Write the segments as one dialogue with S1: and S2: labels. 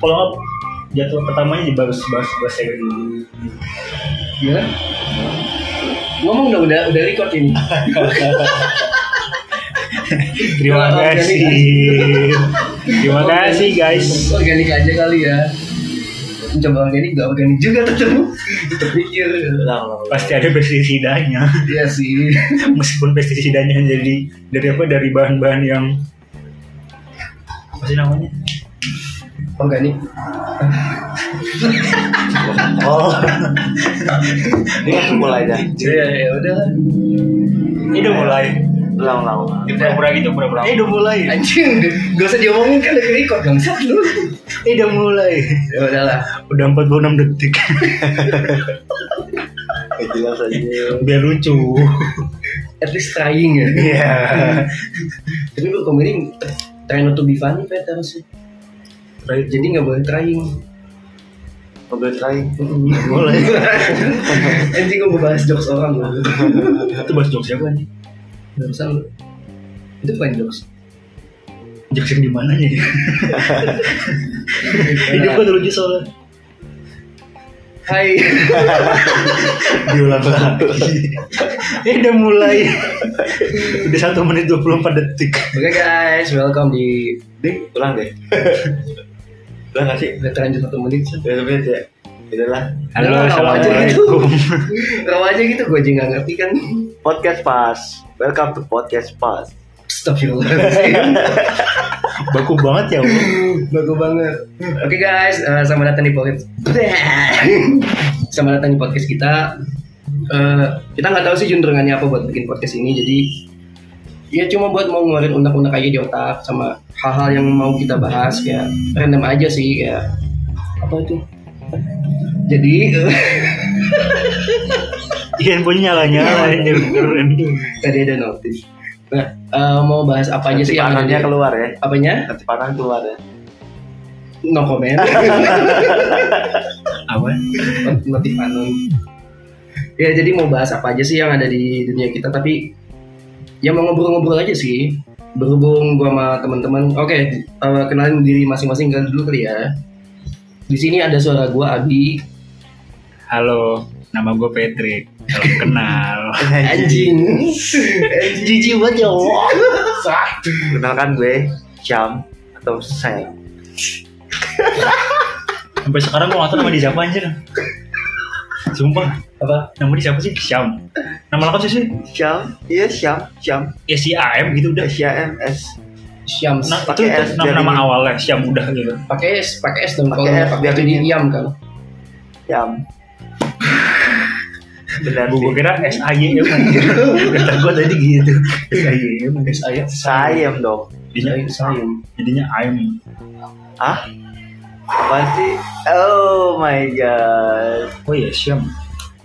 S1: kalau nggak jadwal pertamanya di bagus bagus bagus segmen dulu
S2: Gila. Iya. Ngomong dong udah udah record ini.
S1: terima
S2: Kalau organik
S1: kasih terima kasih guys
S2: Organik aja kali ya. Mencoba organik gak organik juga tetep. Terpikir.
S1: pasti ada pestisidanya
S2: Iya sih.
S1: meskipun pestisidanya jadi dari apa dari bahan-bahan yang apa sih namanya
S2: Organik.
S1: oh
S3: Ini mulai dah.
S2: Iya ya udah lah.
S1: ini udah mulai
S3: Ulang-ulang.
S1: Ya, pura-pura gitu pura-pura ini udah mulai
S2: Anjing, gak usah diomongin kan udah record bangsat lu.
S1: ini udah mulai
S2: Ya udah lah.
S1: udah 46 detik
S3: Eh, jelas aja.
S1: biar lucu
S2: At least trying ya.
S1: iya
S2: Tapi lu komedi try not to be funny Pet harusnya. Jadi gak boleh trying.
S3: Mobil try.
S1: mulai
S2: Anjing gue bahas jokes orang loh.
S1: itu bahas jokes siapa nih
S2: Barusan lu. Itu bukan jokes.
S1: jokes yang di mana ya hidup kan lucu soalnya
S2: Hai.
S1: diulang lagi ini udah mulai udah satu menit 24 detik
S2: Oke guys, welcome di
S3: Ding, ulang deh. Ulang nggak sih?
S2: udah terlanjut satu menit sih.
S3: Ya, tapi ya. Udah lah.
S2: Halo, assalamualaikum. Rawa aja gitu, gue aja nggak ngerti kan.
S3: Podcast pas. Welcome to podcast pas.
S2: Stop you Bagus
S1: Baku banget ya, Om.
S2: banget. Oke guys, eh, selamat datang di podcast. selamat datang di podcast kita. Eh, kita nggak tahu sih junderungannya apa buat bikin podcast ini. Jadi ya cuma buat mau ngeluarin unek-unek aja di otak sama hal-hal yang mau kita bahas kayak random aja sih kayak apa itu. Jadi
S1: Iya, handphonenya nyala-nyala anjir, keren.
S2: tadi ada notif. Nah, eh, mau bahas apa aja
S3: Nanti
S2: sih yang
S3: panahnya
S2: ada di-
S3: keluar ya.
S2: Apanya?
S3: Nanti panah keluar ya.
S2: No comment.
S1: Apa?
S2: Notif anon. Ya, jadi mau bahas apa aja sih yang ada di dunia kita tapi ya mau ngobrol-ngobrol aja sih. Berhubung gua sama teman-teman. Oke, eh, kenalin diri masing-masing kali dulu kali ya. Di sini ada suara gua Abi.
S1: Halo, nama gue Patrick. Salam kenal.
S2: Anjing. Anjing. Jijik banget ya Allah.
S3: Kenalkan gue Syam atau Sam.
S1: Sampai sekarang gue gak tau nama dia siapa anjir. Sumpah,
S2: Apa?
S1: nama dia siapa sih? Syam. Nama lengkap sih sih?
S3: Syam. Iya Syam. Syam.
S1: Ya si AM gitu udah.
S3: S Y A M S.
S2: Syams.
S1: Nah, itu
S3: Pakai S,
S1: nama, nama
S3: jadi-
S1: awalnya Syam udah gitu.
S2: Pakai S, pakai S dong
S3: Pakai
S2: kalau nggak
S3: S,
S2: pakai
S3: biar
S2: jadi
S3: ini.
S2: diam kan.
S3: Syam. Benar.
S1: Gue
S3: sih.
S1: kira SAYM anjir. Kata gue tadi gitu. SAYM.
S2: S ayat.
S3: Sayem dong.
S1: Jadinya,
S2: Sayang.
S1: jadinya AM.
S3: Hah? Apa sih? Oh my god.
S1: Oh iya, Syam.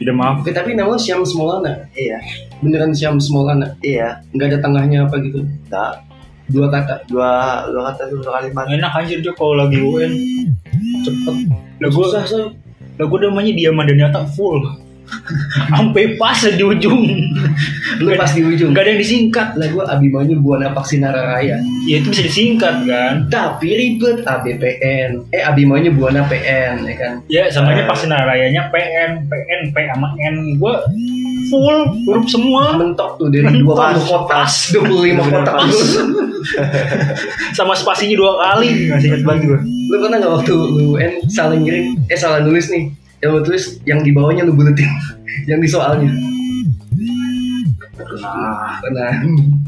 S1: Udah maaf.
S2: Oke, tapi namanya Syams Maulana.
S3: Iya,
S2: Beneran Syams Maulana.
S3: iya.
S2: Nggak ada tengahnya apa gitu.
S3: Nah,
S2: Dua kata.
S3: dua dua kata satu kalimat.
S1: Enak anjir dia kalau lagi UN.
S2: Cepet.
S1: Lah gue
S2: Susah, Sob.
S1: lah gue namanya diaman dan nyata full. Sampai pas di ujung.
S2: Lu pas di ujung.
S1: Gak ada yang disingkat.
S2: Lah gua Abimanyu Buana Paksinara Raya.
S1: Ya itu bisa disingkat kan.
S2: Tapi ribet ABPN. Eh Abimanyu Buana PN ya kan.
S1: Ya sama aja
S3: Eh.
S1: pas narayanya PN, PN, P sama N. Gue full huruf semua
S2: Mentok tuh dari 20
S3: Pas,
S2: kotak,
S1: pas.
S2: 25 kotak.
S3: Pas.
S2: Lu,
S1: sama spasinya dua kali. Masih ingat banget gue.
S2: lu pernah nggak waktu UN salah ngirim, eh salah nulis nih. Yang lu tulis yang di bawahnya lu buletin. yang di soalnya.
S1: Nah,
S2: Pernah.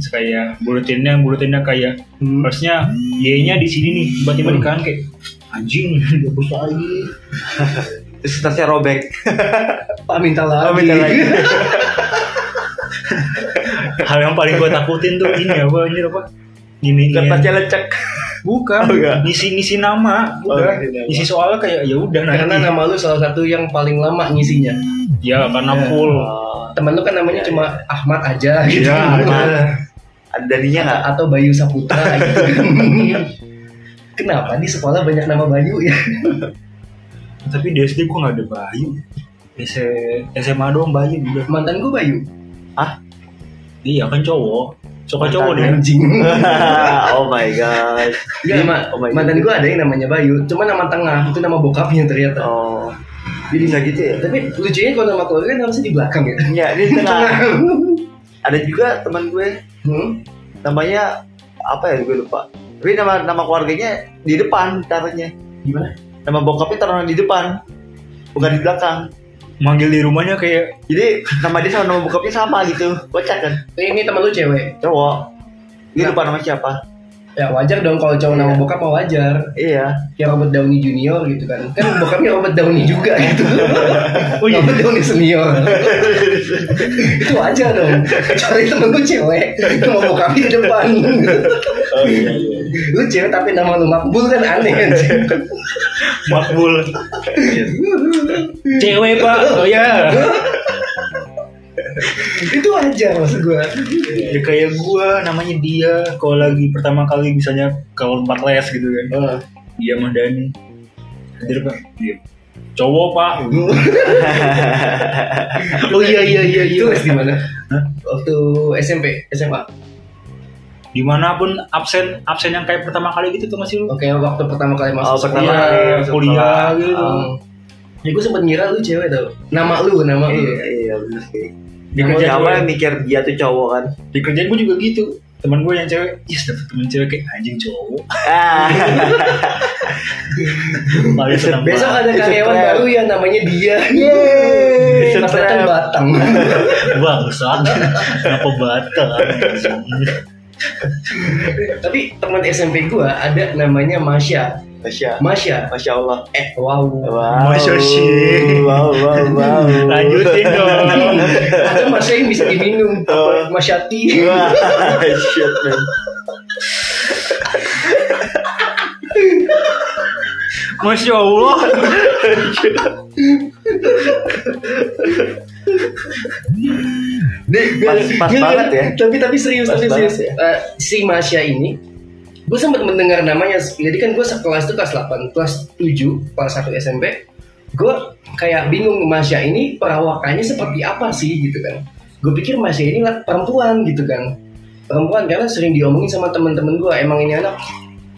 S1: kayak buletinnya buletinnya kayak
S2: Hmm.
S1: harusnya Y-nya di sini nih, tiba-tiba di kanan kayak anjing, udah bisa lagi.
S3: Terus tasnya robek.
S2: Pak minta lagi.
S3: Oh, minta lagi.
S1: Hal yang paling gue takutin tuh ini apa anjir apa? Gini
S3: Kertasnya lecek.
S1: Bukan,
S3: Oh, enggak.
S1: ngisi ngisi nama,
S3: Oh,
S1: udah.
S3: ngisi nama.
S1: iya, ngisi soalnya kayak ya udah nanti.
S2: Karena nama lu salah satu yang paling lama ngisinya.
S1: ya karena
S2: Ya.
S1: full.
S3: Oh,
S2: Temen lu kan namanya
S3: Iya,
S2: cuma Ahmad aja gitu.
S1: Iya, Ahmad.
S3: ada daninya nggak?
S2: Atau Bayu Saputra gitu. Kenapa di sekolah banyak nama Bayu ya?
S1: Tapi di SD gue nggak ada Bayu. S- SMA doang Bayu udah.
S2: Mantan gue Bayu.
S3: Ah,
S1: Iya kan cowok. Suka cowok dia.
S2: anjing
S3: oh my god.
S2: Iya, ma-
S3: Oh my God.
S2: mantan gue ada yang namanya Bayu, cuma nama tengah itu nama bokapnya ternyata.
S3: Oh. Jadi bisa gitu ya?
S2: Tapi lucunya kalau nama keluarga kan harusnya di belakang ya.
S3: Ya, di tengah. Ada juga teman gue
S2: hmm?
S3: namanya apa ya gue lupa. Tapi nama nama keluarganya di depan taruhnya.
S2: Gimana?
S3: Nama bokapnya taruh di depan. Bukan di belakang.
S1: Manggil di rumahnya kayak
S3: Jadi nama dia sama nama bokapnya sama gitu. Kocak kan?
S2: Eh, ini teman lu cewek.
S3: Cowok. Dia
S2: Nah.
S3: lupa nama siapa.
S2: Ya wajar dong kalau cowok nama bokap mah wajar.
S3: Iya.
S2: Kayak Robert Downey Junior gitu kan. Kan bokapnya Robert Downey juga gitu. oh, iya. Robert Downey Senior. itu wajar dong. Cari temen lu cewek, nama bokapnya di depan.
S3: Oh iya iya.
S2: lu cewek tapi nama lu makbul kan aneh kan.
S1: makbul. Cewek pak. Oh ya.
S2: itu wajar maksud gua.
S1: Ya kayak gua namanya dia. Kalau lagi pertama kali misalnya kalau tempat les gitu kan.
S2: Eh.
S1: Dia mah Dani. Hadir pak. Iya. Cowok pak.
S2: oh iya iya iya iya. Itu les di mana?
S1: Hah?
S2: Waktu SMP, SMA.
S1: Dimanapun absen absen yang kayak pertama kali gitu tuh masih lu.
S2: Oke, waktu pertama kali masuk
S3: Oh, Ah. pertama
S2: sekolah.
S3: kali
S1: Iya,
S3: masuk
S1: kuliah
S3: sekolah. Oh,
S1: gitu.
S2: Um, ya gue sempet ngira lu cewek tau. Nama lu, nama lu.
S3: Iya iya benar sih.
S1: Di
S2: Kamu
S1: kerjaan
S3: Siapa
S1: gua,
S3: yang mikir dia tuh cowok kan?
S1: di kerjaan gua juga gitu. Temen gua yang cewek, yes dapet temen cewek kayak anjing cowok.
S3: Ah.
S1: Paling senang
S2: Besok
S1: banget.
S2: ada
S3: It's a
S2: karyawan
S3: trap.
S2: baru yang namanya dia.
S3: Yeay.
S2: Pas datang batang.
S1: Bangsat. Kenapa batal?
S2: Tapi teman SMP gua ada namanya Masya.
S3: Masya.
S2: Masya.
S3: Masya Allah.
S2: Eh, wow.
S3: Wow.
S1: Masya Syekh.
S3: Wow, wow, wow.
S1: Lanjutin dong.
S2: Ada Masya yang bisa diminum. Apa? Masyati.
S3: Wah, Shit, man.
S1: Masya Allah.
S3: Pas- pas
S2: Gila,
S3: banget ya.
S2: Tapi tapi serius,
S3: Pas
S2: tapi serius.
S3: banget ya.
S2: Eh, si Masya ini, gue sempat mendengar namanya. Jadi kan gue sekelas tuh kelas 8, kelas 7, kelas 1 SMP. Gue kayak bingung Masya ini perawakannya seperti apa sih gitu kan. Gue pikir Masya ini lah perempuan gitu kan. Perempuan karena sering diomongin sama temen-temen gue. Emang ini anak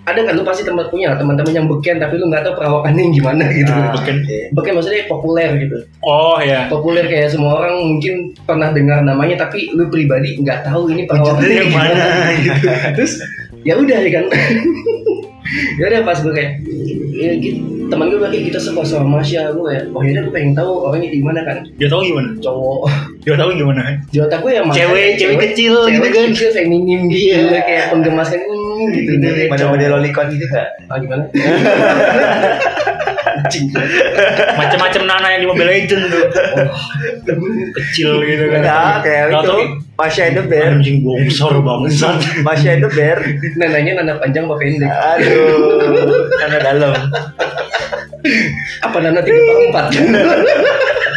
S2: ada kan lu pasti teman punya lah, teman-teman yang beken tapi lu nggak tahu perawakannya yang gimana gitu.
S3: Ah,
S1: Bukan.
S3: oke.
S2: Beken maksudnya populer gitu
S1: Oh ya.
S2: populer kayak semua orang mungkin pernah dengar namanya tapi lu pribadi nggak tahu ini perawakan
S1: Wujudnya yang mana gitu.
S2: terus ya udah ya kan ya udah pas gue kayak ya gitu teman gue bilang kita sekolah sama Masya gue kayak oh yaudah gue pengen tahu orangnya di mana kan
S1: Dia tahu gimana?
S2: cowok
S1: Dia tahu gimana?
S2: di otak gue ya Masya,
S1: Cewek, cewek kecil
S2: cewek
S1: gitu kan. Iya.
S2: kecil feminim gitu kayak penggemaskan hmm, gitu Kayak
S3: Model-model
S2: cowok.
S3: lolicon gitu nggak?
S2: ah gimana Anjing.
S1: Macam-macam Nana yang di Mobile Legend tuh. Kecil gitu kan.
S3: Nggak, kayak
S1: Oh. Nggak
S3: itu.
S1: tahu.
S3: Masya the bear.
S1: Anjing bongsor bangsat.
S3: Masya the bear.
S2: nananya nana panjang apa pendek
S3: Aduh, karena dalam.
S2: apa nana tiga per empat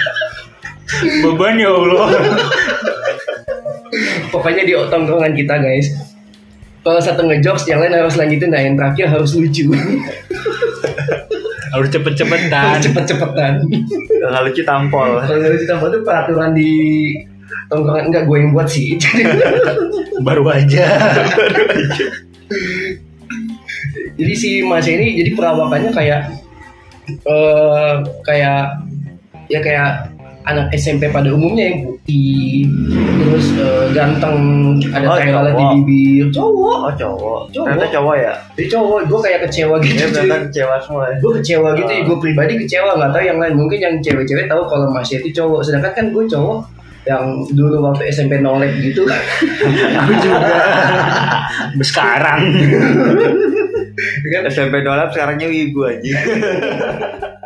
S1: Beban ya Allah.
S2: pokoknya di tongkrongan kita guys kalau satu ngejokes yang lain harus lanjutin dan yang terakhir harus lucu
S1: Harus cepet-cepetan.
S2: harus cepet-cepetan
S3: Nggak lucu tampol.
S2: kalau lucu tambah itu peraturan di tongkrongan enggak gue yang buat sih jadi,
S1: Baru aja.
S2: jadi si Mas ini jadi perawakannya kayak eh kayak ya kayak anak SMP pada umumnya yang putih terus eh, ganteng ada
S3: Oh,
S2: tai lalat di
S3: cowok.
S2: bibir cowok
S3: Oh cowok.
S2: Cowok.
S3: Ternyata cowok ya.
S2: jadi cowok gue kayak kecewa gitu
S3: Dia
S2: cuy.
S3: ternyata kecewa semua.
S2: gue kecewa gitu ya gue pribadi kecewa nggak tahu yang lain mungkin yang cewek-cewek tahu kalau Mas itu cowok sedangkan kan gue cowok yang dulu waktu SMP nolep gitu
S1: Aku juga. Sampai sekarang.
S2: kan
S3: SMP 12 sekarangnya wibu aja.